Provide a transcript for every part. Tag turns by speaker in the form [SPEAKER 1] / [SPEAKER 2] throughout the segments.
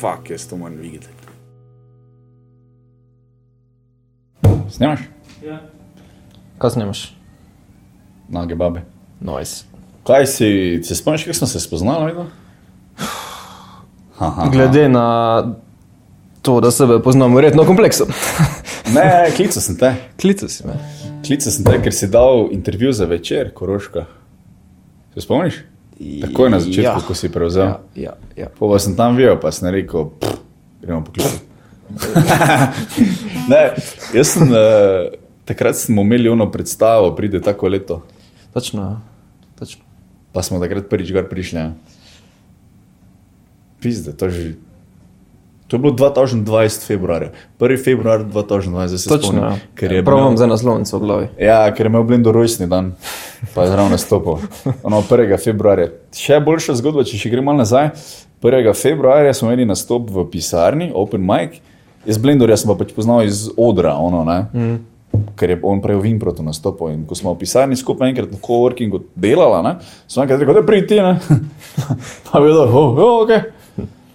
[SPEAKER 1] fuck, jaz to moram videti.
[SPEAKER 2] Snemaš?
[SPEAKER 3] Kaj snemaš?
[SPEAKER 2] Nage babe.
[SPEAKER 3] Noise.
[SPEAKER 2] Kaj si, se spomniš, kako smo se spoznali? Videl? Aha.
[SPEAKER 3] Glede na to, da sebe poznam, verjetno kompleksno.
[SPEAKER 2] Ne, klical sem te.
[SPEAKER 3] Klical si me.
[SPEAKER 2] Klical sem te, ker si dal intervju za večer, koroška. Se spomniš? Takoj na začetku, ja. ko si prevzel. Ja.
[SPEAKER 3] Ja, ja.
[SPEAKER 2] Pa vas sem tam videl, pa sem rekel, "Pff, gremo poklicati. ne, jaz sem, uh, takrat smo imeli ono predstavo, pride tako leto,
[SPEAKER 3] Točno, ja. točno.
[SPEAKER 2] pa smo takrat prvič gor prišli. Ja. Pizde, to že. To je bilo 2020 februarja, 1. februar 2020, se
[SPEAKER 3] točno
[SPEAKER 2] spomnim,
[SPEAKER 3] ja.
[SPEAKER 2] ker je
[SPEAKER 3] Prav
[SPEAKER 2] bil-
[SPEAKER 3] imam za naslovnico v glavi.
[SPEAKER 2] Ja, ker je imel Blendo rojstni dan, pa je zraven nastopil. Ono 1. februarja. Še boljša zgodba, če še gremo nazaj. 1. februarja smo imeli nastop v pisarni, Open Mic. Jaz Blendorja sem pa pač poznal iz odra, ono, mm. ker je on prej v Improtu nastopil. In ko smo v pisarni skupaj enkrat na coworkingu delala, ne, sem enkrat rekel, da pridi, ne. pa je bilo, oh, oh, ok.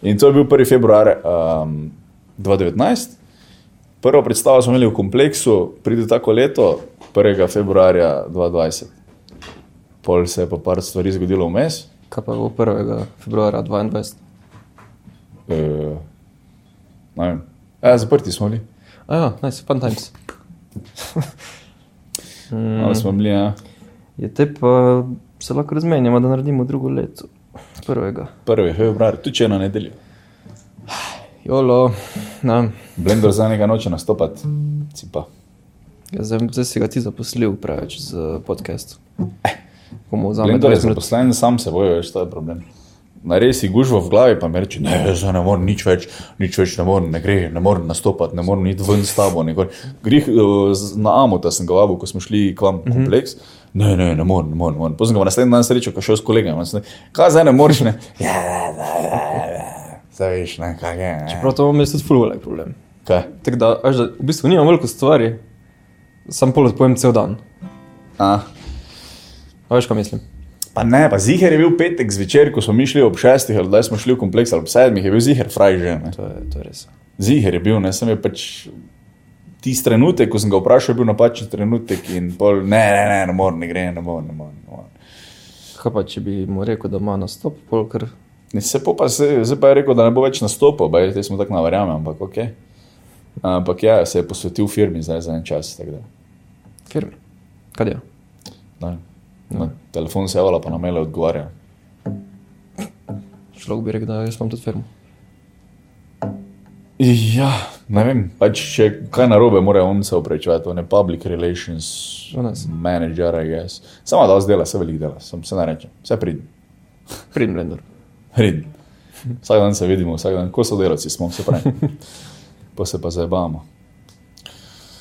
[SPEAKER 2] In to je bil 1. februar um, 2019. Prvo predstavo smo imeli v kompleksu, pride tako leto, 1. februarja 2020. Pol se je pa par stvari zgodilo vmes.
[SPEAKER 3] Kaj pa bo 1. februarja 22?
[SPEAKER 2] E, ne vem. e, zaprti smo bili.
[SPEAKER 3] A ja, nice, fun times.
[SPEAKER 2] Mm. smo bili ja.
[SPEAKER 3] Je te pa se lahko razmenjamo, da naredimo drugo leto. Prvega.
[SPEAKER 2] 1. februar, tudi če je na nedeljo.
[SPEAKER 3] Jolo, ne.
[SPEAKER 2] Blender za nekaj noče nastopati, cipa.
[SPEAKER 3] Ja, zdaj, zdaj si ga ti zaposlil preveč z podcast. Bomo vzamem
[SPEAKER 2] Blender Eh. je
[SPEAKER 3] 20 minut.
[SPEAKER 2] zaposlen, sam se bojo, veš, to je problem. Naresi gužvo v glavi, pa mi reče, ne, jaz zdaj ne morem nič več, nič več ne morem, ne gre, ne morem nastopati, ne morem iti ven s tabo. ne gor." Grih, eh, z- na Amota sem ga vabil, ko smo šli k vam v kompleks. Ne, ne, ne morem, ne morem. Ne morem. Potem sem ga pa naslednji dan srečal, ko šel s kolegom. on sem rekel, Kaj zdaj ne moreš? Ne? Ja, ja, ja, ja, ja. Zdaj veš, ne, kaj je. ne."
[SPEAKER 3] Prav to imam jaz tudi ful velik problem.
[SPEAKER 2] Kaj?
[SPEAKER 3] Tako da, až da, v bistvu nimam veliko stvari, sam pol odpojem cel dan.
[SPEAKER 2] A?
[SPEAKER 3] A veš, kaj mislim?
[SPEAKER 2] Pa ne, pa ziger je bil petek zvečer, ko smo mi šli ob šestih, ali da smo šli v kompleks, ali ob sedmih, je bil ziger fraj že. Ne?
[SPEAKER 3] To je, to je res.
[SPEAKER 2] Ziger je bil, ne sem je pač tisti trenutek, ko sem ga vprašal, je bil napačen trenutek in pol, ne, ne, ne, ne morem, ne gre, ne morem, ne morem. Ne morem.
[SPEAKER 3] Kaj pa, če bi mu rekel, da ima nastop, pol kar.
[SPEAKER 2] In se po pa se, zdaj pa je rekel, da ne bo več nastopil, baj, zdaj smo tako naverjame, ampak ok. Ampak ja, se je posvetil firmi zdaj za en čas. tako da,
[SPEAKER 3] Ker. Kaj je?
[SPEAKER 2] ne. Na telefon se javala, pa na mele odgovarja.
[SPEAKER 3] Človek bi rekel, da jaz imam tudi firmo.
[SPEAKER 2] Ja, ne vem, pač če kaj narobe, mora on se opravičevati, on je public relations
[SPEAKER 3] No, nice.
[SPEAKER 2] manager, I guess. Samo da vzdela, se veliko dela, sem se nareče, vse pridem.
[SPEAKER 3] Pridem, vendar.
[SPEAKER 2] Redno. Vsak dan se vidimo, vsak dan, ko sodelavci smo, se pravi. Pa se pa zabavamo.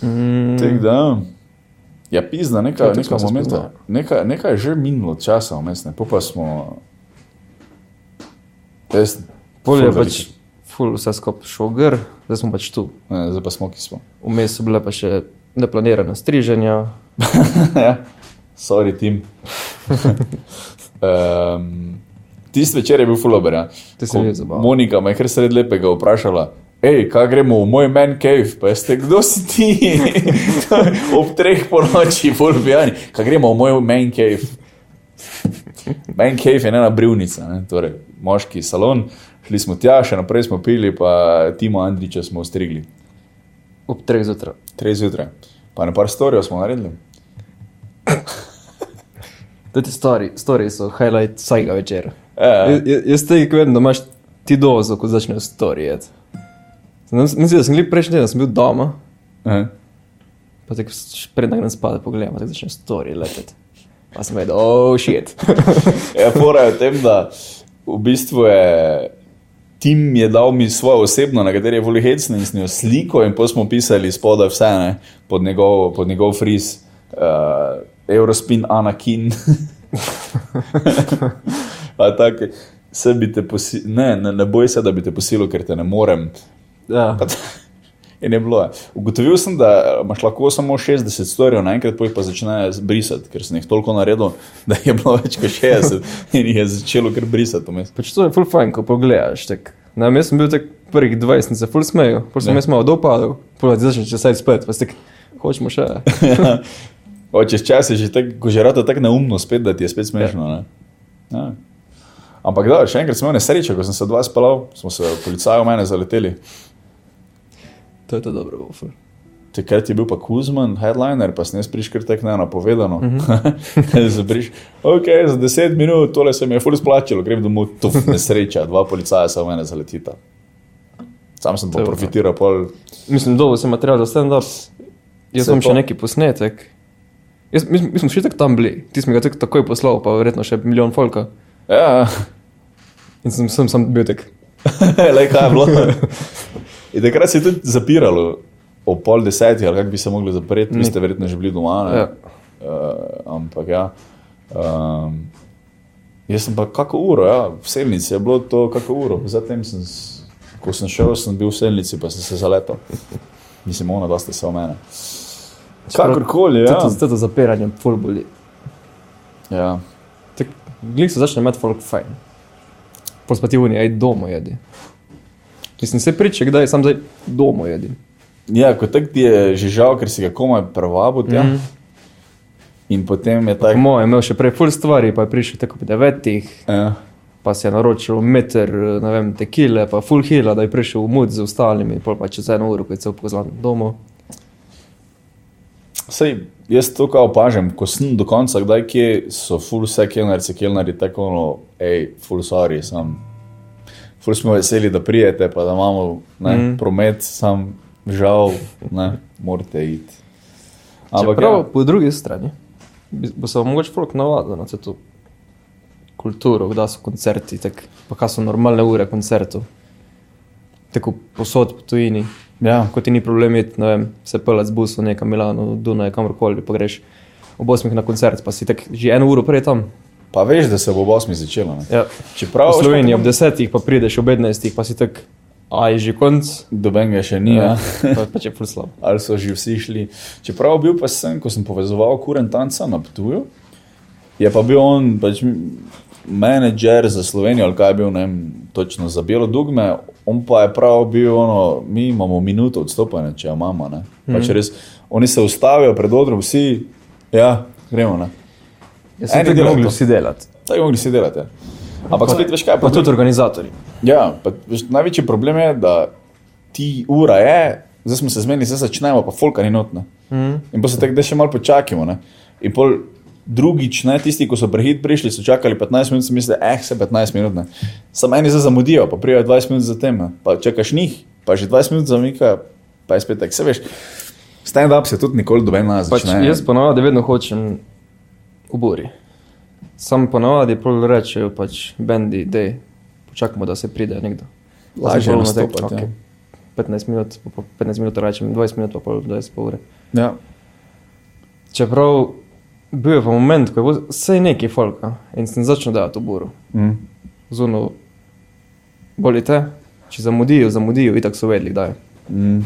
[SPEAKER 2] Mm. Tek da. Ja, pizda, nekaj,
[SPEAKER 3] Kaj, tako
[SPEAKER 2] nekaj
[SPEAKER 3] smo se
[SPEAKER 2] momenta.
[SPEAKER 3] spoznali?
[SPEAKER 2] Nekaj, nekaj je že minilo časa, umestne, pa smo. Jaz,
[SPEAKER 3] Pol je
[SPEAKER 2] ful
[SPEAKER 3] pač
[SPEAKER 2] veliko.
[SPEAKER 3] ful vse skupaj šel gr, zdaj smo pač tu.
[SPEAKER 2] Ne, zdaj pa smo, ki smo.
[SPEAKER 3] Vmes so bile pa še neplanirane striženja,
[SPEAKER 2] ja, sorry, tim. um, Tisti večer je bil fulober. Ja.
[SPEAKER 3] Ti si
[SPEAKER 2] Ko
[SPEAKER 3] bil zabaven.
[SPEAKER 2] Monika me je kar sred lepega vprašala. Hej, kaj gremo v moj man cave, pa ste, kdo si ti? Ob treh po noči, bolj pijani. Kaj gremo v moj man cave? Man cave je ena brivnica, ne? torej moški salon. Šli smo tja, še naprej smo pili, pa Timo Andriča smo ostrigli.
[SPEAKER 3] ob treh zjutraj.
[SPEAKER 2] Tri zjutraj. Pa na par storijo smo naredili.
[SPEAKER 3] Te ti stvari, stvari so highlight vsakega večera.
[SPEAKER 2] Ja.
[SPEAKER 3] Ja. Jaz te vem, da imaš ti dozo, ko začneš storijeti. Mislim, da sem bil prejšnji teden, da sem bil doma,
[SPEAKER 2] Eh.
[SPEAKER 3] pa tako prednag ne spade, pogledam, pa tako začneš storije leteti. Pa sem vedel, oh, shit.
[SPEAKER 2] Ja, Fora je v tem, da v bistvu je tim je dal mi svojo osebno, na kateri je volil hecni in s njo sliko, in pa smo pisali spodaj vse, ne, pod njegov, pod njegov friz, uh, Eurospin, Anakin. Pa tako, se bi te posil, ne, ne, ne boj se, da bi te posilil, ker te ne morem.
[SPEAKER 3] Ja.
[SPEAKER 2] In je bilo. je. Ugotovil sem, da eh, imaš lahko samo 60 storijev, naenkrat pa jih pa začne brisati, ker sem jih toliko naredil, da je bilo več kot 60 in jih je začelo kar brisati. vmes.
[SPEAKER 3] Pač to je full fajn, ko pogledaš, tak, Ne, vem, jaz sem bil tak prvih 20, sem se ful smejal, pol sem
[SPEAKER 2] Ja.
[SPEAKER 3] jaz malo dopadel, pol ti začneš česati spet, pa si tak, hočemo še.
[SPEAKER 2] O, čez čas je že tako, ko že rado tako neumno spet, da ti je spet smešno. ne. Ja. Ampak da, še enkrat sem imel nesrečo, ko sem se dva spalal, smo se policaji v mene zaleteli.
[SPEAKER 3] To je to dobro, bilo ful.
[SPEAKER 2] Takrat je bil pa Kuzman, headliner, pa sem jaz prišel tako nenapovedano. Mm
[SPEAKER 3] Mhm.
[SPEAKER 2] -hmm. priš, ok, za 10 minut, tole se mi je ful splačilo, grem domov, tu nesreča, dva policaja se v mene zaletita. Sam sem
[SPEAKER 3] To
[SPEAKER 2] pa
[SPEAKER 3] je
[SPEAKER 2] profitiral, pol
[SPEAKER 3] Mislim, dobro sem material za stand-up.
[SPEAKER 2] Se
[SPEAKER 3] Jaz sem
[SPEAKER 2] to-
[SPEAKER 3] še neki posnetek. Jaz, mi, smo- mi smo še tako tam bili, ti smo ga tako takoj poslal, pa verjetno še milijon folka.
[SPEAKER 2] Ja,
[SPEAKER 3] In sem sem, sem bil tak.
[SPEAKER 2] Ja, le kaj je bilo. In takrat se je tudi zapiralo, ob pol desetih, ali kako bi se mogli zapreti, vi ste verjetno že bili doma.
[SPEAKER 3] Ja.
[SPEAKER 2] Ja. Uh, ampak ja. Um, jaz sem pa kako uro, ja, v selnici je bilo to kako uro. Zatem, sem, s- ko sem šel, sem bil v selnici, pa sem se zaletel. Mislim, ona, da ste se o mene.
[SPEAKER 3] Čeprav-
[SPEAKER 2] Kakorkoli, ja.
[SPEAKER 3] To, to, to zapiranje ful boli.
[SPEAKER 2] ja.
[SPEAKER 3] Tak, Glej se začne imeti folk fajn. Pospati v njej, domo jedi. Mislim, se priče, kdaj sam zdaj domo jedi.
[SPEAKER 2] Ja, kot tak ti je že žal, ker si ga komaj prevabo tja. Mm
[SPEAKER 3] Mhm.
[SPEAKER 2] -hmm. In potem je
[SPEAKER 3] Po
[SPEAKER 2] tako.
[SPEAKER 3] mojem, imel še prej ful stvari, pa je prišel tako ob devetih,
[SPEAKER 2] Ja.
[SPEAKER 3] pa si je naročil meter, ne vem, tekile, pa full hila, da je prišel v mud z ostalimi, pol pa čez eno uro, ko je cel pozvan domo.
[SPEAKER 2] Sej, jaz to kaj opažam, ko sem do konca, kdaj kje so full vse kelnarice, kelnari tako ono, hej, full sorry, sem. Ful smo veseli, da prijete, pa da imamo ne, mm.
[SPEAKER 3] Mhm.
[SPEAKER 2] promet, sam žal, ne, morate iti.
[SPEAKER 3] Ampak
[SPEAKER 2] Ampak
[SPEAKER 3] prav, ja.
[SPEAKER 2] ja,
[SPEAKER 3] po drugi strani bi- bo se vam mogoče folk navadil na to kulturo, kdaj so koncerti, tak, pa kaj so normalne ure koncertov. Tako posod po tujini,
[SPEAKER 2] ja,
[SPEAKER 3] kot ti ni problem iti, ne vem, se pelec z busom nekam Milano, Dunaj, kamorkoli, pa greš ob osmih na koncert, pa si tak že eno uro prej tam.
[SPEAKER 2] pa veš, da se bo ob 8 začelo. Ne.
[SPEAKER 3] Ja.
[SPEAKER 2] Čeprav
[SPEAKER 3] v Sloveniji ob desetih, pa prideš ob ednajstih, pa si tak, a je že konc.
[SPEAKER 2] Doben ga še ni, ja.
[SPEAKER 3] pa, pa če je ful slabo.
[SPEAKER 2] ali so že vsi šli. Čeprav bil pa sem, ko sem povezoval kurentanca na Ptuju, je pa bil on pač m- menedžer za Slovenijo, ali kaj je bil, ne vem, točno za Belo Dugme, on pa je prav bil, ono, mi imamo minuto odstopanja, če jo imamo. ne. Pač
[SPEAKER 3] Mhm.
[SPEAKER 2] res, oni se ustavijo pred odrom, vsi, ja, gremo. Ne.
[SPEAKER 3] Jaz sem
[SPEAKER 2] Eni
[SPEAKER 3] tega
[SPEAKER 2] delajo
[SPEAKER 3] Ja, mogli
[SPEAKER 2] to.
[SPEAKER 3] vsi delati.
[SPEAKER 2] Tako mogli si delati. ja. Ampak spet veš kaj,
[SPEAKER 3] Pa tudi organizatorji.
[SPEAKER 2] Ja, pa, veš, največji problem je, da ti ura je, zdaj smo se zmenili, zdaj začnemo, pa folka ni notna.
[SPEAKER 3] Mhm.
[SPEAKER 2] Mm. In pa se tako, da še malo počakamo. Ne? In pol drugič, ne, tisti, ki so prehit prišli, so čakali 15 minut, so mislili, eh, se 15 minut. Ne. Samo eni zdaj zamudijo, pa prijajo 20 minut zatem, ne. pa čakaš njih, pa že 20 minut zamika, pa je spet tako, se veš. Stand-up se tudi nikoli dobe na
[SPEAKER 3] Pač,
[SPEAKER 2] začetku.
[SPEAKER 3] jaz ponavadi vedno hočem v bori. Sam ponavadi pol rečejo, pač bendi, da počakamo, da se pride nekdo. Pa sem
[SPEAKER 2] Lažje
[SPEAKER 3] pol ono tak,
[SPEAKER 2] nastopati, ja.
[SPEAKER 3] "Okej, 15 minut, pa pol 15 minut rečem, 20 minut, pa pol 20 pol ure.
[SPEAKER 2] Ja.
[SPEAKER 3] Čeprav bil je pa moment, ko je bilo vse neki folka in sem začel dajati v buru.
[SPEAKER 2] Mm.
[SPEAKER 3] Zuno, bolite, če zamudijo, zamudijo, itak so vedeli, da je.
[SPEAKER 2] Mm.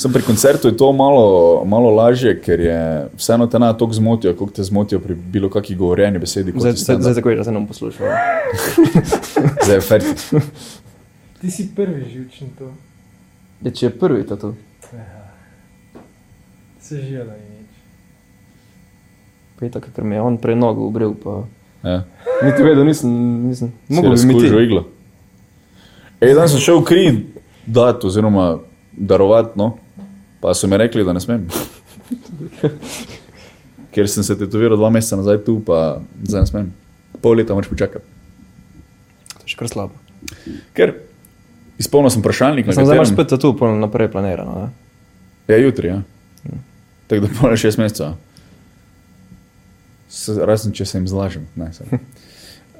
[SPEAKER 2] Sem pri koncertu je to malo, malo lažje, ker je vseeno te na to zmotijo, kako te zmotijo pri bilo kakšni govorjeni besedi. kot
[SPEAKER 3] Zdaj,
[SPEAKER 2] je
[SPEAKER 3] zdaj,
[SPEAKER 2] stand-up.
[SPEAKER 3] zdaj tako je, da se nam poslušajo.
[SPEAKER 2] Zdaj je fertik.
[SPEAKER 1] Ti si prvi živčni to,
[SPEAKER 3] Ja, če je prvi tatu,
[SPEAKER 1] se žela in nič.
[SPEAKER 3] pa je tako, ker me je on prej nogo ubril, pa
[SPEAKER 2] Ja.
[SPEAKER 3] Niti vedel, nisem, nisem. Mogoče bi mi
[SPEAKER 2] že
[SPEAKER 3] ti.
[SPEAKER 2] iglo. Ej, danes sem šel kri dati, oziroma darovati, no. pa so mi rekli, da ne smem. ker sem se tetoviral dva meseca nazaj tu, pa zdaj ne smem. Pol leta moraš počakati.
[SPEAKER 3] To je še kar slabo.
[SPEAKER 2] Ker izpolnil sem vprašalnik. na
[SPEAKER 3] Sem zdaj imaš
[SPEAKER 2] katerem-
[SPEAKER 3] spet tu polno naprej planirano. Ne?
[SPEAKER 2] Ja, jutri. Ja. Tako da pol šest mesecev. S- Razen če se jim zlažem. Ne, sorry.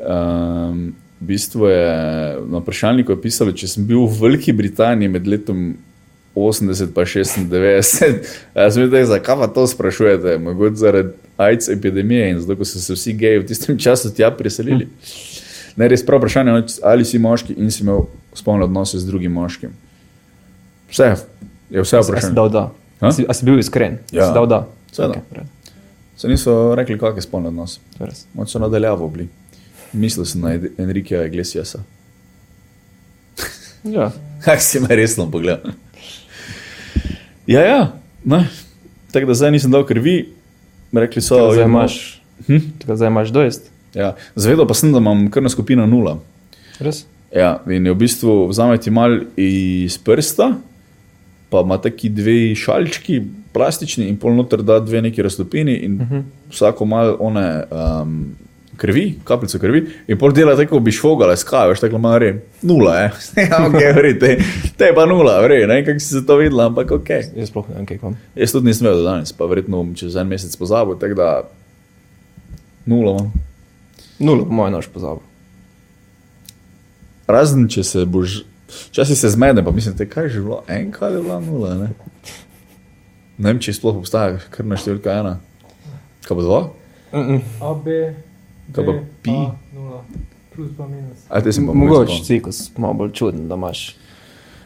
[SPEAKER 2] um, v bistvu je na vprašalniku je pisalo, če sem bil v Veliki Britaniji med letom 80 in 96. Jaz sem rekel, zakaj pa to sprašujete? Mogoče zaradi AIDS epidemije in zato, ko so se vsi geji v tistem času tja preselili. Ne, res prav vprašanje, no, ali si moški in si imel spolne odnose z drugim moškim. Vse je vse
[SPEAKER 3] A si
[SPEAKER 2] vprašanje.
[SPEAKER 3] dal da.
[SPEAKER 2] Ja, Ha?
[SPEAKER 3] A si, a si bil iskren?
[SPEAKER 2] Ja.
[SPEAKER 3] A Si dal da.
[SPEAKER 2] Seveda.
[SPEAKER 3] Okej, v redu,
[SPEAKER 2] Se niso rekli, kak je spolni odnos.
[SPEAKER 3] to je res.
[SPEAKER 2] Moč so nadaljavo bili. Mislil sem na Ed- Enrikeja Iglesiasa.
[SPEAKER 3] Ja.
[SPEAKER 2] Kaj si me resno pogledal? Ja, ja. ne. Tako da zdaj nisem dal krvi, rekli so,
[SPEAKER 3] Tako zdaj
[SPEAKER 2] "Idemo."
[SPEAKER 3] imaš,
[SPEAKER 2] Hm?
[SPEAKER 3] tako zdaj imaš dojest.
[SPEAKER 2] Ja. Zvedel pa sem, da imam krvna skupina nula.
[SPEAKER 3] Res?
[SPEAKER 2] Ja, in je v bistvu vzameti mal iz prsta, pa ima taki dve šalčki, plastični, in pol noter da dve neki raztopini, in uh -huh. vsako malo one um, krvi, kapljico krvi, in pol dela tako, bi švogala, skavaš, tako malo re, nula je. ja, ok, vri, te, te je pa nula, vri, ne, kako si se to videla, ampak ok.
[SPEAKER 3] Jaz sploh ne vem, kaj imam.
[SPEAKER 2] Jaz tudi nisem vedel danes, pa verjetno bom čez en mesec pozabil, tako da nula no. imam.
[SPEAKER 3] Nulo, po mojem, naš pozabil.
[SPEAKER 2] Razen, če se boš, včasih se zmedem, pa mislim, te kaj je že bilo, enka je bila nula. Ne, ne vem, če sploh obstaja krvna številka ena. Kaj pa dva?
[SPEAKER 1] A, B,
[SPEAKER 2] Kaj pa
[SPEAKER 1] B,
[SPEAKER 2] pi?
[SPEAKER 1] A, 0, plus pa minus.
[SPEAKER 2] A, te sem pa
[SPEAKER 3] Mogoče si kot malo bolj čuden, da imaš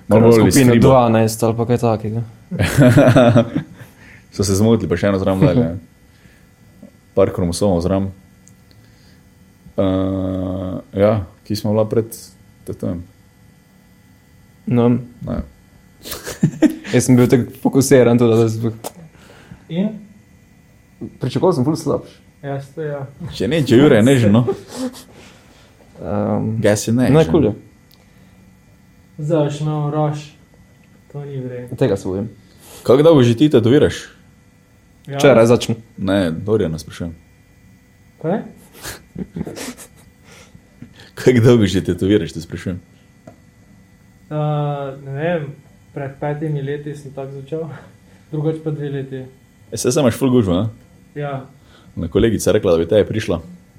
[SPEAKER 2] Malo bolj
[SPEAKER 3] skupino
[SPEAKER 2] iztribo.
[SPEAKER 3] 12 ali pa kaj takega.
[SPEAKER 2] spomnil. so se zmotili, pa še eno zraven dalje. Par kromosomov zraven. Uh, ja, ki smo bila pred tem.
[SPEAKER 3] No,
[SPEAKER 2] Ne.
[SPEAKER 3] jaz sem bil tako fokusiran, tudi, da sem
[SPEAKER 1] In?
[SPEAKER 3] pričakoval, da sem bolj slabš.
[SPEAKER 1] Jaz to ja.
[SPEAKER 2] Če ne, če jure, ne že no.
[SPEAKER 3] Um,
[SPEAKER 2] Gas je ne. no.
[SPEAKER 3] ne, kul je.
[SPEAKER 1] Zaš, no, raš. To ni vredno.
[SPEAKER 3] Tega se bojim.
[SPEAKER 2] Kako dolgo že ti tatoviraš?
[SPEAKER 1] Ja.
[SPEAKER 3] Včeraj začnem.
[SPEAKER 2] Ne, Dorjana sprašujem.
[SPEAKER 1] Kaj?
[SPEAKER 2] Kako dolgo že tatoviraš, te sprašujem?
[SPEAKER 1] Uh, ne vem, pred petimi leti sem tako začel, drugače pa dve leti.
[SPEAKER 2] E, Saj se imaš full gužva, ne?
[SPEAKER 1] Ja,
[SPEAKER 2] Na kolegica je rekla, da bi te je prišla.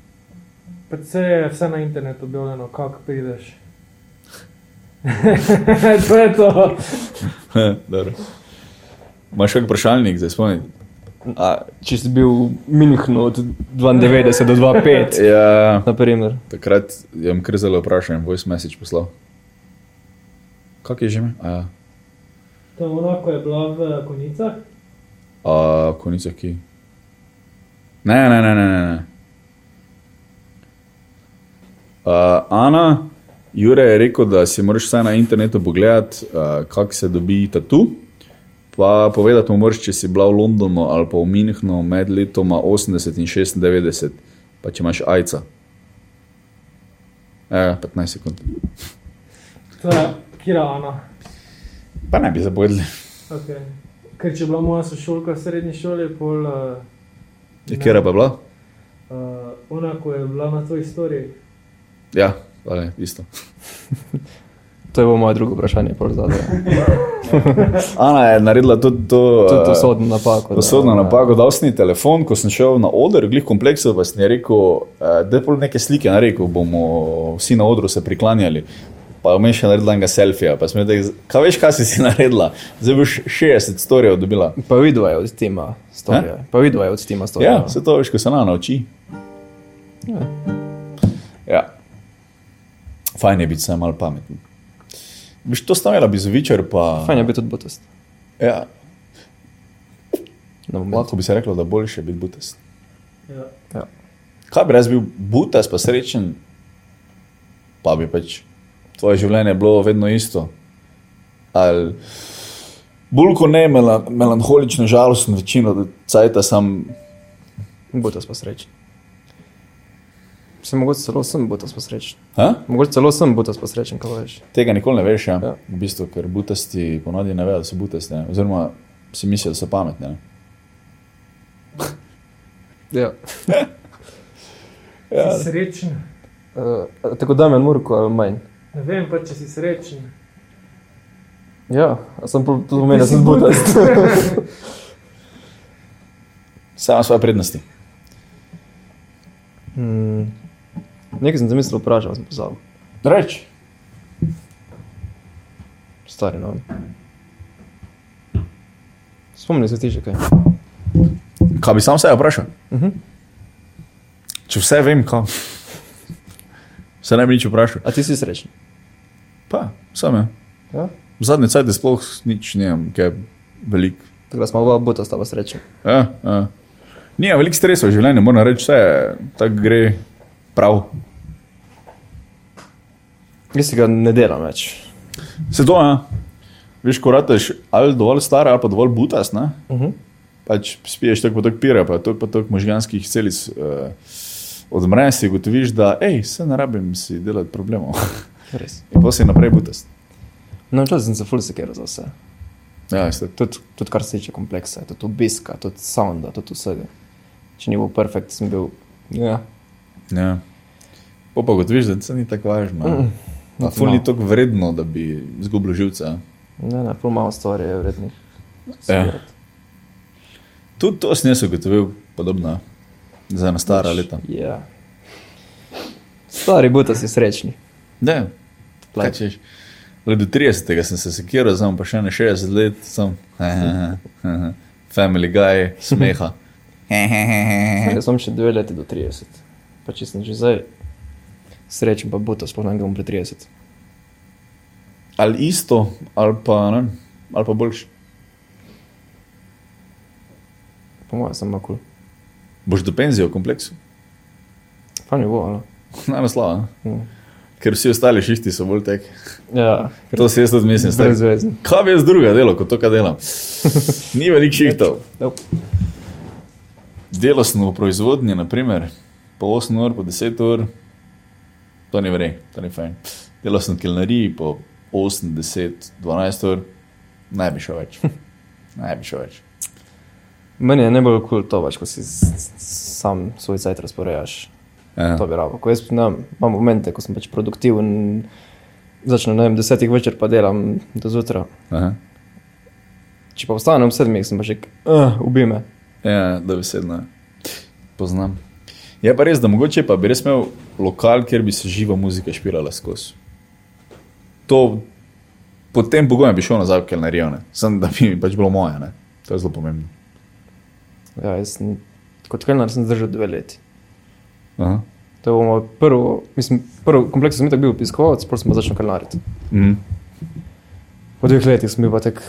[SPEAKER 1] predvsej je vse na internetu objavljeno, kako prideš. to je to.
[SPEAKER 2] Dobro. Imaš kak vprašalnik, zdaj spomni?
[SPEAKER 3] A, če si bil v Münchnu od 92 do 2005,
[SPEAKER 2] Ja,
[SPEAKER 3] naprimer.
[SPEAKER 2] takrat je jim krzelo vprašanje, voice message poslal. Kak je že ime? A, ja.
[SPEAKER 1] To je ono, ko je bila v konicah.
[SPEAKER 2] A, konica ki. Ne, ne, ne, ne, ne. ne. A, Ana, Jure je rekel, da si moraš vsaj na internetu pogledati, uh, kako se dobi tatu. Pa povedati mu moraš, če si bila v Londonu ali pa v Münchnu med letoma 80 in 96, pa če imaš ajca. E, 15 sekund.
[SPEAKER 1] To je Kira Ana.
[SPEAKER 2] Pa ne bi zaboravili.
[SPEAKER 1] Okay. Ker če je bila moja sošolka v srednji šoli, pol. Uh,
[SPEAKER 2] Ja, Kera pa je bila?
[SPEAKER 1] Uh, ona, ko je bila na tvoji storiji,
[SPEAKER 2] Ja, ali, isto.
[SPEAKER 3] To je bilo moje drugo vprašanje, pol zadaj.
[SPEAKER 2] Ana je naredila tudi to.
[SPEAKER 3] Tudi to
[SPEAKER 2] eh,
[SPEAKER 3] sodno napako. da-
[SPEAKER 2] Usodno napako, dal sem ji telefon, ko sem šel na oder, glih kompleksu, pa sem ji rekel, eh, da je pol neke slike, ne rekel, bomo vsi na odru se priklanjali. Pa mi je še naredila enega selfija, pa sem rekel, kaj veš, kaj si si naredila, zdaj boš 60 storijev dobila.
[SPEAKER 3] Pa vidva je od tima storja. Pa vidva je od tima storja.
[SPEAKER 2] Ja, vse to veš, ko se na nauči.
[SPEAKER 3] Ja.
[SPEAKER 2] Ja. Fajn je biti samo malo pameten. Biš to stavila bi zvičer, pa
[SPEAKER 3] Fajn je biti tudi botest.
[SPEAKER 2] ja,
[SPEAKER 3] Na moment.
[SPEAKER 2] lahko bi se reklo, da boljše biti butest.
[SPEAKER 1] ja.
[SPEAKER 2] Kaj bi jaz bil butas, pa srečen, pa bi pač tvoje življenje bilo vedno isto. Ali bolj kot ne melan, melanholično, žalosten, večino cajt, sem
[SPEAKER 3] Botest pa srečen. Se mogoče celo sem botest pa srečen.
[SPEAKER 2] ha?
[SPEAKER 3] Mogoče celo sem botest pa srečen, kaj veš.
[SPEAKER 2] tega nikoli ne veš. Ja? Ja.
[SPEAKER 3] Ja.
[SPEAKER 2] V bistvu, ker butasti ponavadi ne vejo, da so butasti, ne? oziroma si mislijo, da so pametni. Ne?
[SPEAKER 3] Ja.
[SPEAKER 1] ja. Si srečen.
[SPEAKER 3] Uh, tako da men murko ali manj.
[SPEAKER 1] Ne vem pa, če si srečen.
[SPEAKER 3] Ja, a sem pol- tudi omenil, da sem botest.
[SPEAKER 2] Vse ima svoje prednosti.
[SPEAKER 3] Hmm. Nekaj sem zamislil, vprašal sem pozabil.
[SPEAKER 2] Reč.
[SPEAKER 3] Stari no. Spomnim se ti že kaj.
[SPEAKER 2] Kaj bi sam sebe vprašal?
[SPEAKER 3] Uh -huh.
[SPEAKER 2] Če vse vem, kam. Se ne bi nič vprašal.
[SPEAKER 3] A ti si srečen?
[SPEAKER 2] Pa, sam je.
[SPEAKER 3] Ja.
[SPEAKER 2] V zadnji cajt sploh nič nimam, kaj velik.
[SPEAKER 3] Tako da smo oba botesta pa srečen.
[SPEAKER 2] Ja, ja. Nije veliko stresa v življenju, moram reči, vse je- tako gre prav.
[SPEAKER 3] Jaz si ga ne delam več.
[SPEAKER 2] Se to, ja. Veš, ko rateš ali dovolj star, ali pa dovolj butas, ne?
[SPEAKER 3] Uh -huh.
[SPEAKER 2] pač spiješ tako, tako pira, pa to pa tako možganskih celic. Uh, Odmre si, gotoviš, da ej, se ne rabim si delati problemov.
[SPEAKER 3] Res.
[SPEAKER 2] In pa si naprej butast.
[SPEAKER 3] No, včasih sem se ful sekiral za vse.
[SPEAKER 2] Ja, isto.
[SPEAKER 3] Tudi, tudi kar se tiče kompleksa, tudi obiska, tudi sounda, tudi vsega. Če ni bil perfekt, sem bil. Ja.
[SPEAKER 2] Ja. Po pa gotoviš, da se ni tako važno. Mm. Pa ful ni tako vredno, da bi izgubil živce. a.
[SPEAKER 3] Ne, ne, ful malo stvari je vrednih.
[SPEAKER 2] Ja. Tudi to sem jaz ugotovil, podobno za ena stara leta.
[SPEAKER 3] Ja. Stari buta si srečni.
[SPEAKER 2] Ne, plačeš. Le do 30 sem se sekiral, zdaj imam pa še ne 60 let, sem family guy, smeha.
[SPEAKER 3] Jaz sem še dve leti do 30, pa če sem že zdaj srečen, pa buta spomnim, da bom pri 30.
[SPEAKER 2] Ali isto, ali pa, ne, vem, ali pa boljš.
[SPEAKER 3] Po mojem sem makul.
[SPEAKER 2] Boš do penzije v kompleksu,
[SPEAKER 3] Pa mi bo, ali?
[SPEAKER 2] najmanj slava, ne?
[SPEAKER 3] Ja.
[SPEAKER 2] ker vsi ostali šišti so bolj tek.
[SPEAKER 3] Ja,
[SPEAKER 2] To si jaz tudi mislim, stari.
[SPEAKER 3] brezvezen.
[SPEAKER 2] Kaj bi jaz druga delo, kot to, kar delam? Ni veliko šihtov.
[SPEAKER 3] Nope.
[SPEAKER 2] Delo sem v proizvodnji, naprimer, po 8 ur, po 10 ur, to ni vrej, to ni fajn. Delo sem v kilnariji po 8, 10, 12 ur, naj bi šel več. Naj bi šel več.
[SPEAKER 3] Meni je najbolj kul cool to, pač, ko si s- s- sam svoj cajt razporejaš.
[SPEAKER 2] Ja.
[SPEAKER 3] To bi rabo. Ko jaz ne, vem, imam momente, ko sem pač produktiven, začnem na desetih večer, pa delam do zjutra.
[SPEAKER 2] Aha.
[SPEAKER 3] Če pa vstanem ob sedmih, sem pa že, uh, ubi me.
[SPEAKER 2] Ja, dobesedno. Poznam. Je pa res, da mogoče pa bi res imel lokal, kjer bi se živa muzika špilala skozi. To, po tem pogojem bi šel nazaj v Kelnerijo, ne. samo da bi mi pač bilo moje, ne. To je zelo pomembno.
[SPEAKER 3] Ja, jaz sem, kot kelner sem zdržal dve leti.
[SPEAKER 2] Aha.
[SPEAKER 3] To je bilo moje prvo, mislim, prvo kompleks sem itak bil obiskovalec, prvo sem pa začel kelnariti.
[SPEAKER 2] Mm.
[SPEAKER 3] Po dveh letih sem bil pa tek,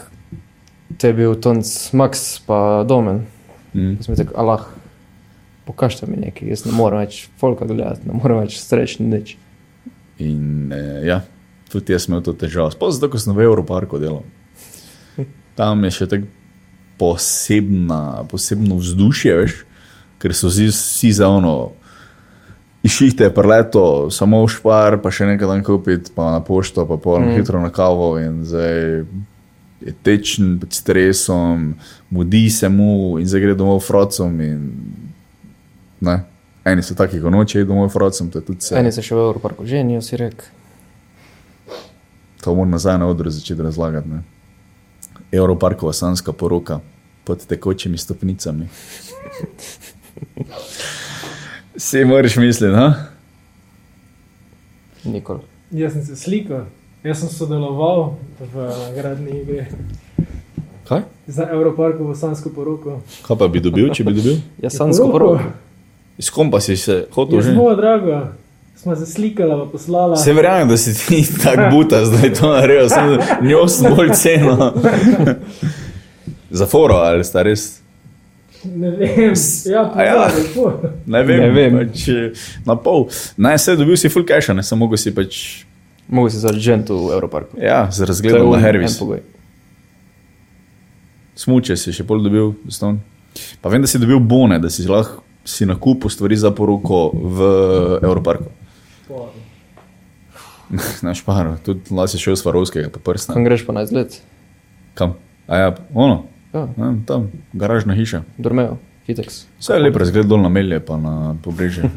[SPEAKER 3] te je bil Tonc Max pa Domen.
[SPEAKER 2] Mm.
[SPEAKER 3] Jaz sem rekel, Allah, pokažite mi nekaj, jaz ne morem več folka gledati, ne morem več streči nič.
[SPEAKER 2] In eh, ja, tudi jaz sem imel to težavo. Sploh zato, ker sem v Evroparku delal. Tam je še tako posebna, posebno vzdušje, veš, ker so vsi, vsi za ono. Išihte, preleto, samo v špar, pa še nekaj dan kupiti, pa na pošto, pa pol mm. hitro na kavo in zdaj je tečen pod stresom, mudi se mu in zdaj gre domov frocom in ne. Eni so taki, ko noče iti domov frocom, to je tudi se.
[SPEAKER 3] Eni se še v Evroparku ženijo, si rekel.
[SPEAKER 2] To moram nazaj na odru začeti razlagati. Ne? Evroparkova sanska poroka pod tekočimi stopnicami. Si moraš misliti, ha?
[SPEAKER 3] Nikoli.
[SPEAKER 1] Jaz sem se slikal, jaz sem sodeloval v gradni igri
[SPEAKER 2] Kaj?
[SPEAKER 1] za Evroparkovo sansko poroko.
[SPEAKER 2] Kaj pa bi dobil, če bi dobil?
[SPEAKER 3] Jaz sem skoro.
[SPEAKER 2] S kom pa si se hotel
[SPEAKER 1] Je
[SPEAKER 2] že?
[SPEAKER 1] zelo drago, smo se slikala, pa poslala.
[SPEAKER 2] Se verjamem, da si ti tak buta, zdaj to naredil, sem njo sem bolj ceno. Za foro ali sta res?
[SPEAKER 1] Ne vem, ja,
[SPEAKER 2] A ja.
[SPEAKER 1] pa lepo.
[SPEAKER 2] Ne vem,
[SPEAKER 3] Ne vem.
[SPEAKER 2] Pač, eh, na pol. Naj se dobil si full cache, ne samo go si pač,
[SPEAKER 3] Mogoče si zdaj žent v Evroparku.
[SPEAKER 2] ja, z
[SPEAKER 3] To je
[SPEAKER 2] razgledom na
[SPEAKER 3] un-
[SPEAKER 2] Hervis.
[SPEAKER 3] en pogoj.
[SPEAKER 2] Smuče si še pol dobil, ston. Pa vem, da si dobil bone, da si lahko si na kupu stvari za poroko v Evroparku. Naš par, tudi las je šel s Varovskega, pa prstna.
[SPEAKER 3] Kam greš pa naj zlet?
[SPEAKER 2] Kam? A ja, ono,
[SPEAKER 3] Ja,
[SPEAKER 2] ja, tam, garažna hiša.
[SPEAKER 3] dormejo, hiteks.
[SPEAKER 2] Vse je lep razgled dol na melje, pa na pobrežje.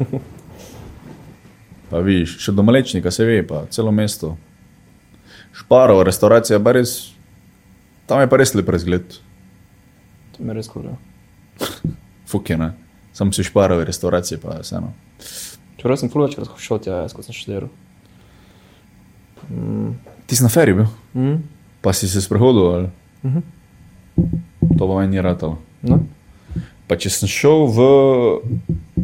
[SPEAKER 2] Pa vidiš, še do Malečnika se ve, pa celo mesto. Šparov, restauracija, pa res, tam je pa res lep razgled.
[SPEAKER 3] To me res kul.
[SPEAKER 2] Fuk je, ne? Sam si šparove restauracije, pa je vseeno.
[SPEAKER 3] Čeprav sem ful večkrat šel tja, jaz ko sem študiral. Mm.
[SPEAKER 2] Ti si na feri bil?
[SPEAKER 3] Mm.
[SPEAKER 2] Pa si se sprohodil, ali?
[SPEAKER 3] Mhm.
[SPEAKER 2] To pa meni ni ratalo.
[SPEAKER 3] No,
[SPEAKER 2] Pa če sem šel v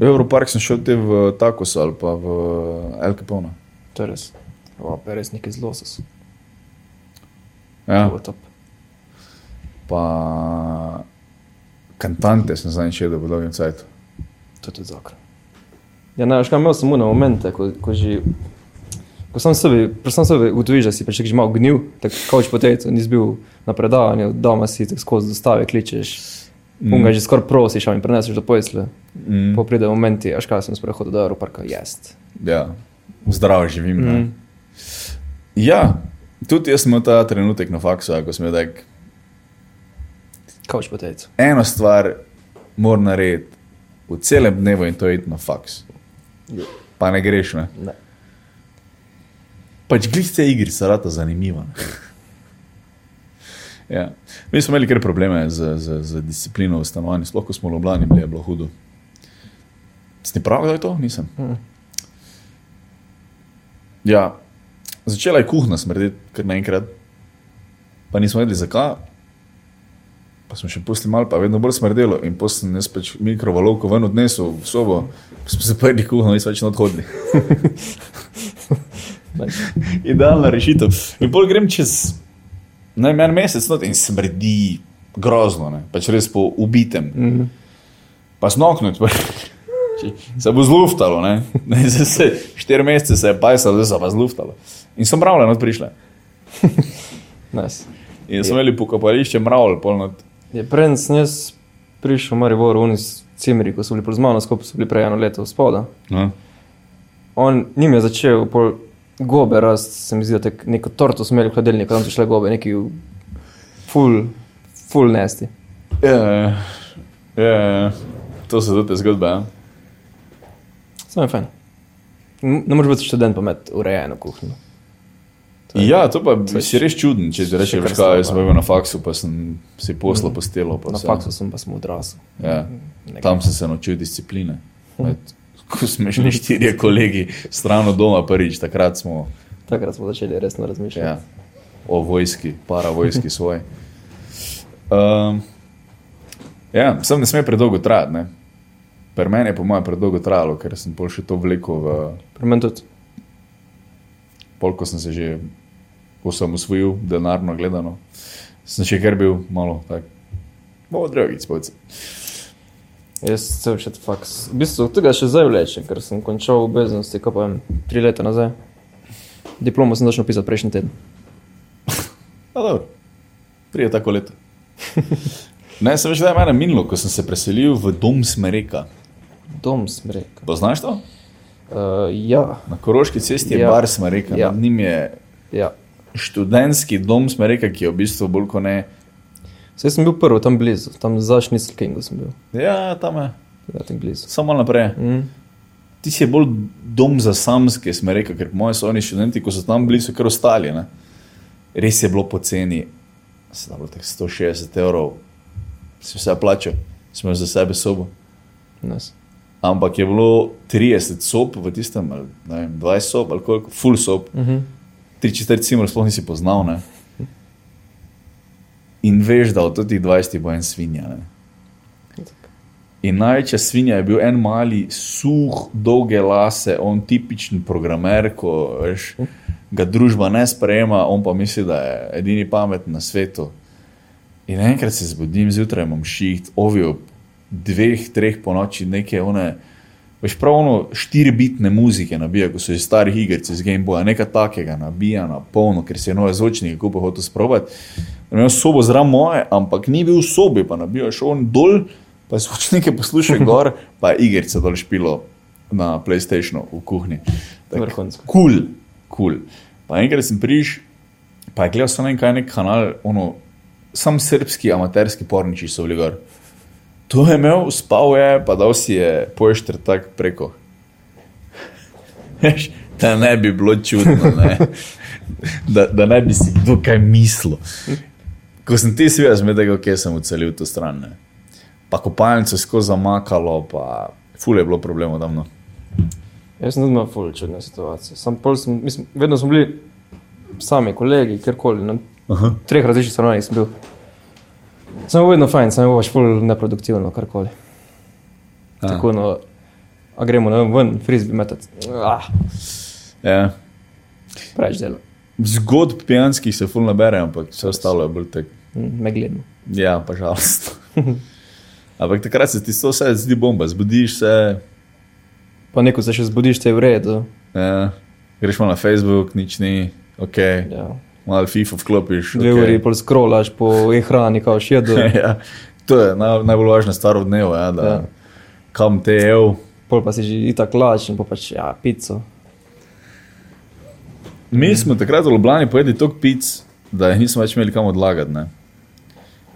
[SPEAKER 2] Evropark, sem šel te v Takos ali pa v El Capone.
[SPEAKER 3] to je res. O, pa je res nekaj zelo sos.
[SPEAKER 2] Ja,
[SPEAKER 3] To bo top.
[SPEAKER 2] pa kantante sem zadnjič jedel v dolgem cajtu.
[SPEAKER 3] To je tudi zakon. Ja, ne, veš kaj, imel sem na momente, ko, ko že Ko sam sebi, pri sam sebi ugotoviš, da si pač že malo gnil, tako kot poteto, nisi bil na predavanju, doma si tako skozi dostave kličeš, mm. unga že skoraj prosiš, a mi preneseš do pojsle.
[SPEAKER 2] Mm.
[SPEAKER 3] Mm. Po pride momenti, aš kaj sem sprehodil do Evroparka, jest.
[SPEAKER 2] Ja, zdrav živim. Mm.
[SPEAKER 3] Mm.
[SPEAKER 2] Ja, tudi jaz sem imel ta trenutek na faksu, ko sem rekel,
[SPEAKER 3] Kaj poteto.
[SPEAKER 2] eno stvar moram narediti v celem dnevu in to je iti na faks. Pa ne greš, ne.
[SPEAKER 3] Ne.
[SPEAKER 2] Pač glice igri so rata zanimiva. ne. ja. Mi smo imeli kar probleme z, z, z disciplino v stanovanju, sploh ko smo v Ljubljani bili, je bilo hudo. Ste pravi, da je to? Nisem.
[SPEAKER 3] Mm.
[SPEAKER 2] Ja, začela je kuhna smrdeti, kar naenkrat. Pa nismo vedeli, zakaj. Pa smo še pustili malo, pa je vedno bolj smrdelo. In potem sem jaz pač mikrovalovko ven odnesel v sobo, pa smo zaprli kuhno in smo več ne odhodili. Idealna rešitev. In bolj grem čez najmanj mesec not, in smrdi grozno, ne? pač res po ubitem.
[SPEAKER 3] Mm.
[SPEAKER 2] Pa snokno odprl. Se bo zluftalo, ne? Ne, zdaj se, štiri mesece se je pajsalo, zdaj se pa zluftalo. In so mravlje not prišle.
[SPEAKER 3] Nice.
[SPEAKER 2] In smo imeli pokopališče mravlj, polno.
[SPEAKER 3] Je prej sem jaz prišel v Maribor, oni s Cimri, ko so bili pred mano, skupaj so bili prej eno leto spoda.
[SPEAKER 2] No.
[SPEAKER 3] On njim je začel pol gobe rast, se mi zdi, da tek- neko torto smo imeli v hladilniku, tam so šle gobe, neki v- full, full nesti.
[SPEAKER 2] Ja, ja, ja. To so tudi te zgodbe. ja.
[SPEAKER 3] Samo je fajn. N- Ne moreš biti študent pa imeti urejeno kuhinjo. To je-
[SPEAKER 2] Ja, to pa
[SPEAKER 3] to je
[SPEAKER 2] si res čuden, če ti
[SPEAKER 3] še
[SPEAKER 2] rečeš, kaj
[SPEAKER 3] kar
[SPEAKER 2] jaz
[SPEAKER 3] slabo, Mm.
[SPEAKER 2] sem bil na faksu, pa sem si poslal postelo. Pa
[SPEAKER 3] Na
[SPEAKER 2] vse.
[SPEAKER 3] faksu sem pa sem odrasel.
[SPEAKER 2] Ja.
[SPEAKER 3] Nekaj.
[SPEAKER 2] Tam sem se naučil discipline.
[SPEAKER 3] Hm.
[SPEAKER 2] Med, ko smo šli štirje kolegi stran od doma prvič, takrat smo
[SPEAKER 3] Takrat smo začeli resno razmišljati.
[SPEAKER 2] ja, o vojski, para vojski svoje. Um, ja, sem ne sme predolgo trajati. ne. Pri meni je po mojem predolgo trajalo, ker sem pol še to vlekel v
[SPEAKER 3] Pri meni tudi.
[SPEAKER 2] pol, ko sem se že osamosvojil, denarno gledano. Sem še kar bil malo tak. Bo drugih spojcev.
[SPEAKER 3] Jaz sem še faks. V bistvu tega še zdaj vlečem, ker sem končal obveznosti, ko pa vem, tri leta nazaj. Diplomo sem začel pisati prejšnji teden.
[SPEAKER 2] No, dobro. Prije tako leto. ne, sem več da je mene minilo, ko sem se preselil v dom Smereka.
[SPEAKER 3] Dom smrek.
[SPEAKER 2] Poznaš to?
[SPEAKER 3] Uh, ja,
[SPEAKER 2] Na Koroški cesti je ja.
[SPEAKER 3] Ja.
[SPEAKER 2] bar Smereka, ja.
[SPEAKER 3] Ja.
[SPEAKER 2] nad njim je
[SPEAKER 3] ja.
[SPEAKER 2] študentski dom Smereka, ki je v bistvu bolj kot ne.
[SPEAKER 3] Vse sem bil prvi, tam blizu, tam za Šnicl Kingu sem bil,
[SPEAKER 2] Ja, tam je,
[SPEAKER 3] da tam blizu.
[SPEAKER 2] samo malo naprej.
[SPEAKER 3] Mm.
[SPEAKER 2] Ti si je bolj dom za samske Smereka, ker po mojem so oni študenti, ko so tam bili, so kar ostali. Ne? Res je bilo poceni, se da bilo tako 160 evrov, si vse plačal, smo za sebe sobo.
[SPEAKER 3] Nice.
[SPEAKER 2] Ampak je bilo 30 sob v tistem, ali ne vem, 20 sob ali koliko, full sob,
[SPEAKER 3] Uh -huh.
[SPEAKER 2] tri četrt cimr, sploh nisi poznal. Ne? In veš, da od teh 20 bo en svinja. Ne? In največja svinja je bil en mali, suh, dolge lase, on tipičen programer, ko veš, ga družba ne sprejema, on pa misli, da je edini pameten na svetu. In enkrat se zbudim zjutraj, imam šiht, ovijo ob dveh, treh po noči neke one. Veš pravno štiri bitne muzike nabija, ko so iz starih iger, iz Game Boya, nekaj takega nabija na polno, ker si je nove zvočnike kupil, hotel sprobati. In Imel sobo zraven moje, ampak ni bil v sobi, pa nabija še on dol, pa je zvočnike poslušal gor, pa je igrice dol špilo na PlayStationu v kuhinji.
[SPEAKER 3] Vrhunsko.
[SPEAKER 2] Kul, cool, kul. Cool. Pa enkrat sem priš, pa je gledal sem en kaj, nek kanal, ono, sam srpski amaterski porniči so bili gor. To je imel, spal je, pa dal si je pošter tak preko. Veš, da ne bi bilo čudno, ne? Da, da ne bi si kdo kaj mislil. Ko sem ti svet, zmedel, kje sem ucelil to stran. Ne? Pa kopalnico skozi zamakalo, pa fule je bilo problemov no. davno.
[SPEAKER 3] Jaz sem tudi imel ful čudne situacije. Sam pol sem, mislim, vedno smo bili sami, kolegi, kjerkoli, na
[SPEAKER 2] Aha.
[SPEAKER 3] treh različnih stranah sem bil. Samo vedno fajn, samo boš ful neproduktivno, karkoli.
[SPEAKER 2] Ja.
[SPEAKER 3] Tako no, a gremo ne vem, ven, frizbi metati. Ah,
[SPEAKER 2] Ja.
[SPEAKER 3] preveč dela,
[SPEAKER 2] Zgodb pijanskih se ful nabere, ampak vse ostalo je bolj tek.
[SPEAKER 3] Mm, me gledno.
[SPEAKER 2] Ja, pa žalost. Ampak takrat se ti to vse zdi bomba, zbudiš se.
[SPEAKER 3] Pa neko se še zbudiš, te je v redu.
[SPEAKER 2] Ja. Greš malo na Facebook, nič ni, ok,
[SPEAKER 3] Ja.
[SPEAKER 2] malo FIFA vklopiš. okej.
[SPEAKER 3] Dve okay. uri pol skrolaš po e-hrani, kao še jedo.
[SPEAKER 2] ja, to je naj, najbolj važna stvar od dneva, ja, da, ja.
[SPEAKER 3] Ja.
[SPEAKER 2] kam te je.
[SPEAKER 3] Pol pa si že itak lačen, pa pač ja, pico.
[SPEAKER 2] Mi smo takrat v Ljubljani pojedli toliko pic, da jih nismo več imeli kam odlagati. Ne?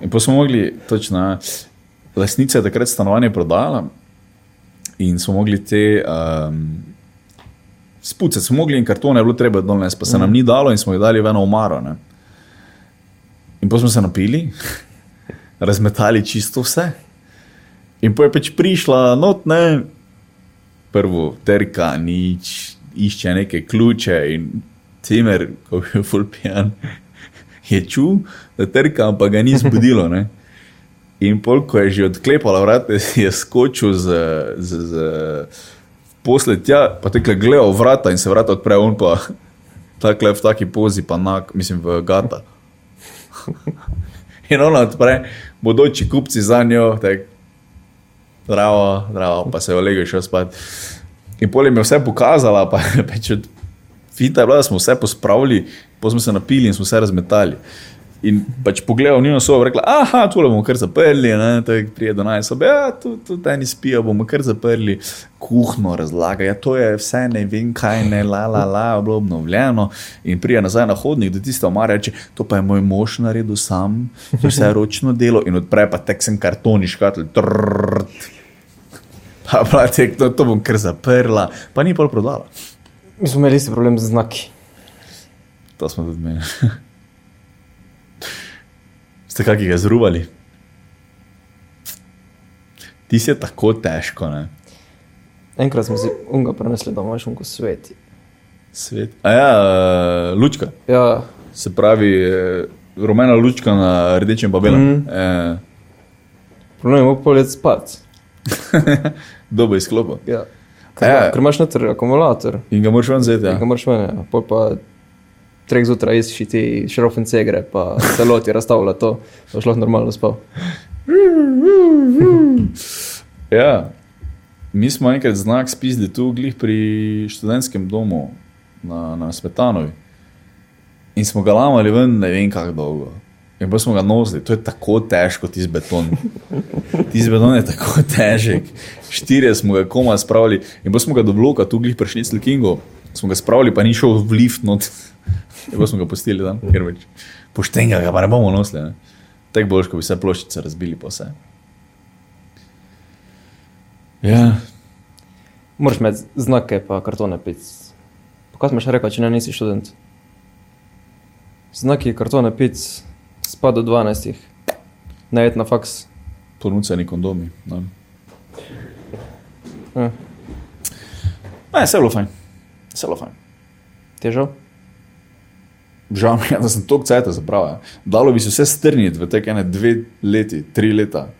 [SPEAKER 2] In pa smo mogli, točno, ja, lasnica je takrat stanovanje prodala in smo mogli te. Um, Spucati smo mogli in kartone je bilo treba dolnes, pa se nam ni dalo in smo jih dali v eno omaro. Ne? In potem smo se napili, razmetali čisto vse. In potem je pač prišla notne, prvo terka, nič, išče neke ključe in cimer, ko je bil full pijan, je čutil, da terka, ampak ga ni zbudilo. Ne? In pol, ko je že odklepala vrata, je skočil z, z, z posle tja, pa tekle gledal vrata in se vrata odpre, on pa takle v taki pozi, pa nak, mislim, v gata. In ona odpre, bodoči kupci za njo, tako zdravo, zdravo, pa se je olegel še spat. In pol jim je vse pokazala, pa je pač od fita je bila, da smo vse pospravili, pa smo se napili in smo vse razmetali. In pač pogledal njeno sobo, rekla, ah, tu bomo kar zaprli, ne, tako prije do naj sobe, ja, tu, tu ta ni spijo, bomo kar zaprli, kuhno razlaga, ja, to je vse, ne vem kaj, ne, la, la, la, bilo obnovljeno. In prije nazaj na hodnik, da tista omara reče, to pa je moj mož naredil sam, to je vse ročno delo in odpre pa teksen kartoni škatl, trrrt. Pa pa tek, to, to bom kar zaprla, pa ni pol prodala.
[SPEAKER 3] Mi smo imeli isti problem z znaki.
[SPEAKER 2] To smo tudi mi. Ste kaj ga zruvali? Ti si je tako težko, ne?
[SPEAKER 3] Enkrat smo si unga prenesli domov, še unko sveti.
[SPEAKER 2] Svet. A ja, eh, lučka.
[SPEAKER 3] Ja,
[SPEAKER 2] Se pravi, eh, rumena lučka na rdečem babelu. Mm.
[SPEAKER 3] Mhm.
[SPEAKER 2] Eh,
[SPEAKER 3] problem je bil pol let spat.
[SPEAKER 2] dobo izklopa.
[SPEAKER 3] Ja. Ker,
[SPEAKER 2] Ja.
[SPEAKER 3] ja. ker imaš noter akumulator,
[SPEAKER 2] In ga moraš ven zeti.
[SPEAKER 3] ja.
[SPEAKER 2] Ja.
[SPEAKER 3] ga moraš ven, ja. pol pa treh zjutraj izši ti šrofence gre, pa celo ti razstavlja to, da boš lahko normalno spal.
[SPEAKER 2] ja. Mi smo enkrat znak spisali tu, glih pri študentskem domu na, na Smetanovi. In smo ga lamali ven, ne vem kako dolgo. In pa smo ga nosili, to je tako težko, ti z beton. Ti z beton je tako težek. Štirje smo ga koma spravili in pa smo ga do bloka, tu glih prišli s Likingo, smo ga spravili, pa ni šel v lift not. In pa smo ga pustili tam, ker več. Poštenga ga pa ne bomo nosili. Ne? Tek boš, ko bi vse ploščice razbili po vse. Ja,
[SPEAKER 3] Moraš imeti znake, pa kartone pic. Pa Kaj smo še rekli, če ne nisi študent? Znaki, kartone pic, spa do 12. Najet na faks.
[SPEAKER 2] ponudili kondomi. Ne,
[SPEAKER 3] Ja.
[SPEAKER 2] ne vse je bilo fajn. Vse je bilo fajn.
[SPEAKER 3] Težav?
[SPEAKER 2] Žal mi je, da sem toliko cajt zapravil. Dalo bi se vse strniti v te ene dve leti, tri leta.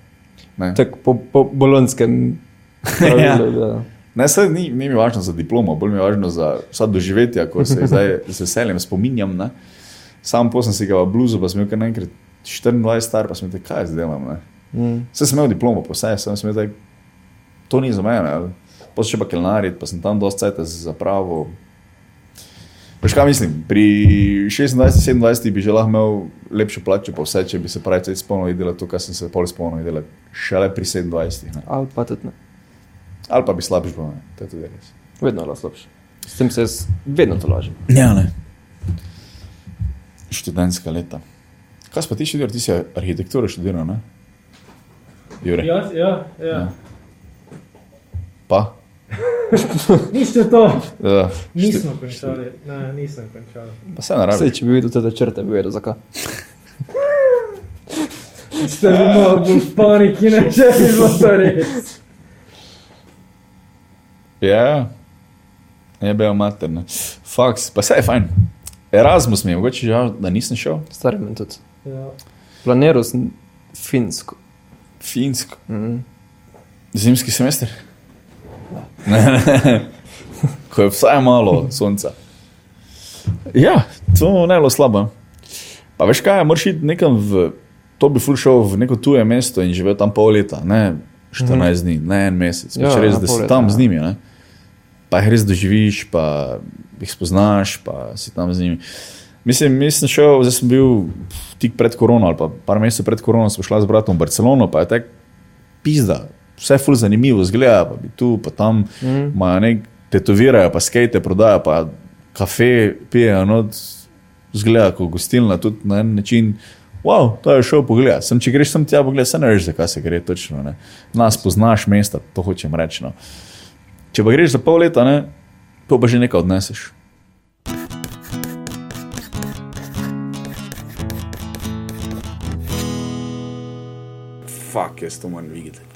[SPEAKER 2] Ne,
[SPEAKER 3] Tako po, po bolonskem. pravilu, da.
[SPEAKER 2] ne saj ni, ni mi važno za diplomo, bolj mi je važno za vsa doživetja, ko se zdaj z veseljem spominjam. Ne. Sam posem si ga v bluzu, pa sem bil kar naenkrat 24 star, pa sem rekel, kaj zdaj delam. Ne.
[SPEAKER 3] Mm.
[SPEAKER 2] Vse sem imel diplomo, pa vse sem imel, tak, to ni za mene. Pa še pa kelnarit, pa sem tam dosti cajt za pravo. Veš kaj mislim, pri 26-27 bi že lahko imel lepšo plačo, pa vse, če bi se pravi cajt spolno delal to, kar sem se pol spolno delal, šele pri 27. Ne.
[SPEAKER 3] Ali pa tudi ne.
[SPEAKER 2] Ali pa bi slabš bilo, ne. to je tudi res.
[SPEAKER 3] Vedno lahko slabš. S tem se jaz vedno tolažim.
[SPEAKER 2] Ja, ne. Študentska leta. Kaj pa ti študiral, ti si arhitekturo študiral, ne? Jure. Ja.
[SPEAKER 1] Jaz, ja, ja.
[SPEAKER 2] Pa?
[SPEAKER 1] Niste to.
[SPEAKER 2] Uh,
[SPEAKER 1] Nismo končali. Ne, nisem končal.
[SPEAKER 2] pa se naravi.
[SPEAKER 3] Vse, če bi videl te črte, bi vedel zakaj.
[SPEAKER 1] Ste bili malo bolj v paniki, ne če bi bilo to res.
[SPEAKER 2] Ja, je bil materni. Faks, pa vse je fajn. Erasmus mi je mogoče žal, da nisem šel.
[SPEAKER 3] Stari men tudi.
[SPEAKER 1] Ja.
[SPEAKER 3] Planiral sem Finsko.
[SPEAKER 2] Finsko,
[SPEAKER 3] Mm.
[SPEAKER 2] zimski semester. Ko je vsaj malo sonca. Ja, to ne je bilo slabo. Pa veš kaj, moraš iti nekam v, to bi ful šel v neko tuje mesto in živel tam pol leta, ne 14 mm -hmm. dni, ne en mesec,
[SPEAKER 3] Ja,
[SPEAKER 2] ja, res,
[SPEAKER 3] ja,
[SPEAKER 2] da
[SPEAKER 3] pol
[SPEAKER 2] si
[SPEAKER 3] leta,
[SPEAKER 2] tam
[SPEAKER 3] ja.
[SPEAKER 2] z njimi. Ne? Pa jih res doživiš, pa jih spoznaš, pa si tam z njimi. Mislim, jaz sem šel, zdaj sem bil pf, tik pred korono ali pa par mesecev pred korono, sem šla z bratom v Barcelono, pa je tako pizda, vse ful zanimivo zgleda, pa bi tu, pa tam mm. imajo nek tetovirajo, pa skate prodajo, pa kafe pijejo, no, zgleda kot gostilna, tudi na en način. Wow, to je šel pogled. Sem, če greš sem tja pogled, se ne veš, zakaj se gre točno. Ne. Nas poznaš mesta, to hočem reči. No. Če pa greš za pol leta, ne, to pa že nekaj odneseš. Fak, jaz to moram videti.